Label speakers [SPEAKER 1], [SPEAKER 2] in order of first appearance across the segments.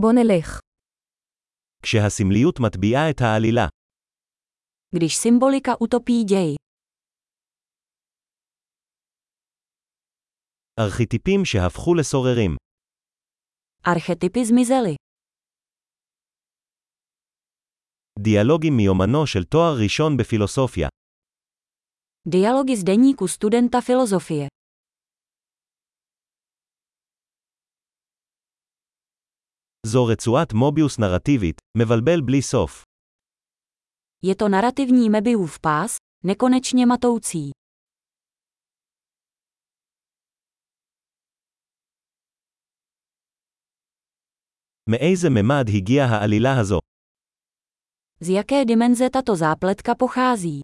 [SPEAKER 1] בוא נלך.
[SPEAKER 2] כשהסמליות מטביעה את העלילה,
[SPEAKER 1] Když symbolika utopí děj,
[SPEAKER 2] ארכיטיפים שהפכו לסוררים,
[SPEAKER 1] archetypy zmizely.
[SPEAKER 2] דיאלוגים מיומנו של תואר ראשון בפילוסופיה,
[SPEAKER 1] Dialogy z deníku studenta filozofie.
[SPEAKER 2] זו רצועת מוביוס נרטיבית, מבלבל בלי סוף.
[SPEAKER 1] Je to narativní Mebiův pás, nekonečně matoucí.
[SPEAKER 2] מאיזה ממד הגיעה העלילה הזו?
[SPEAKER 1] Z jaké dimenze tato zápletka pochází?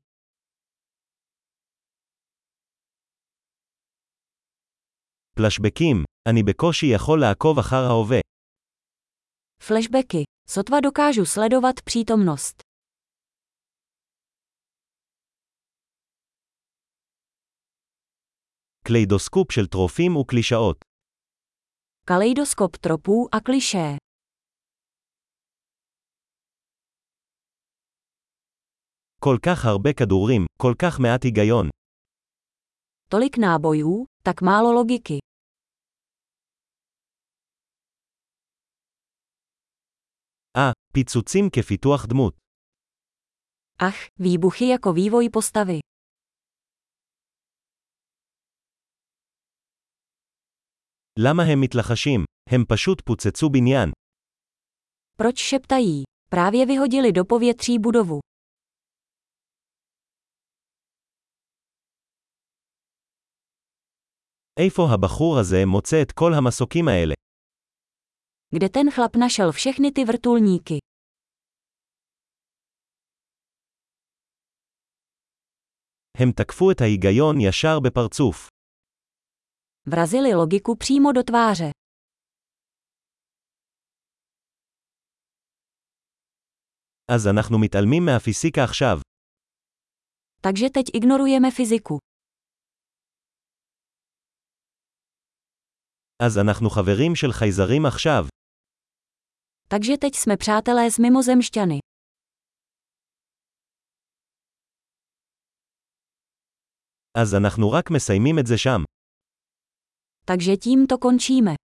[SPEAKER 2] פלשבקים, אני בקושי יכול לעקוב אחר ההווה.
[SPEAKER 1] Flashbacky. Sotva dokážu sledovat přítomnost.
[SPEAKER 2] קליידוסקופ של טרופים וקלישאות.
[SPEAKER 1] Kaleidoskop tropů a klišé.
[SPEAKER 2] כל כך הרבה כדורים, כל כך מעט היגיון.
[SPEAKER 1] Tolik nábojů, tak málo logiky.
[SPEAKER 2] אה, פיצוצים כפיתוח דמות.
[SPEAKER 1] Ach, výbuchy jako vývoj postavy.
[SPEAKER 2] למה הם מתלחשים? הם פשוט פוצצו בניין.
[SPEAKER 1] Proč šeptají? Právě vyhodili do povětří budovu.
[SPEAKER 2] איפה הבחור הזה מוצא את כל המסוקים האלה?
[SPEAKER 1] Kde ten chlap našel všechny ty vrtulníky?
[SPEAKER 2] הם תקפו את ההיגיון ישר בפרצוף.
[SPEAKER 1] Vrazili logiku přímo do tváře.
[SPEAKER 2] אז אנחנו מתעלמים מהפיסיקה עכשיו.
[SPEAKER 1] Takže teď ignorujeme fyziku.
[SPEAKER 2] אז אנחנו חברים של חייזרים עכשיו.
[SPEAKER 1] Takže teď jsme přátelé s mimozemšťany.
[SPEAKER 2] אז אנחנו רק מסיימים את זה שם.
[SPEAKER 1] Takže tím to končíme.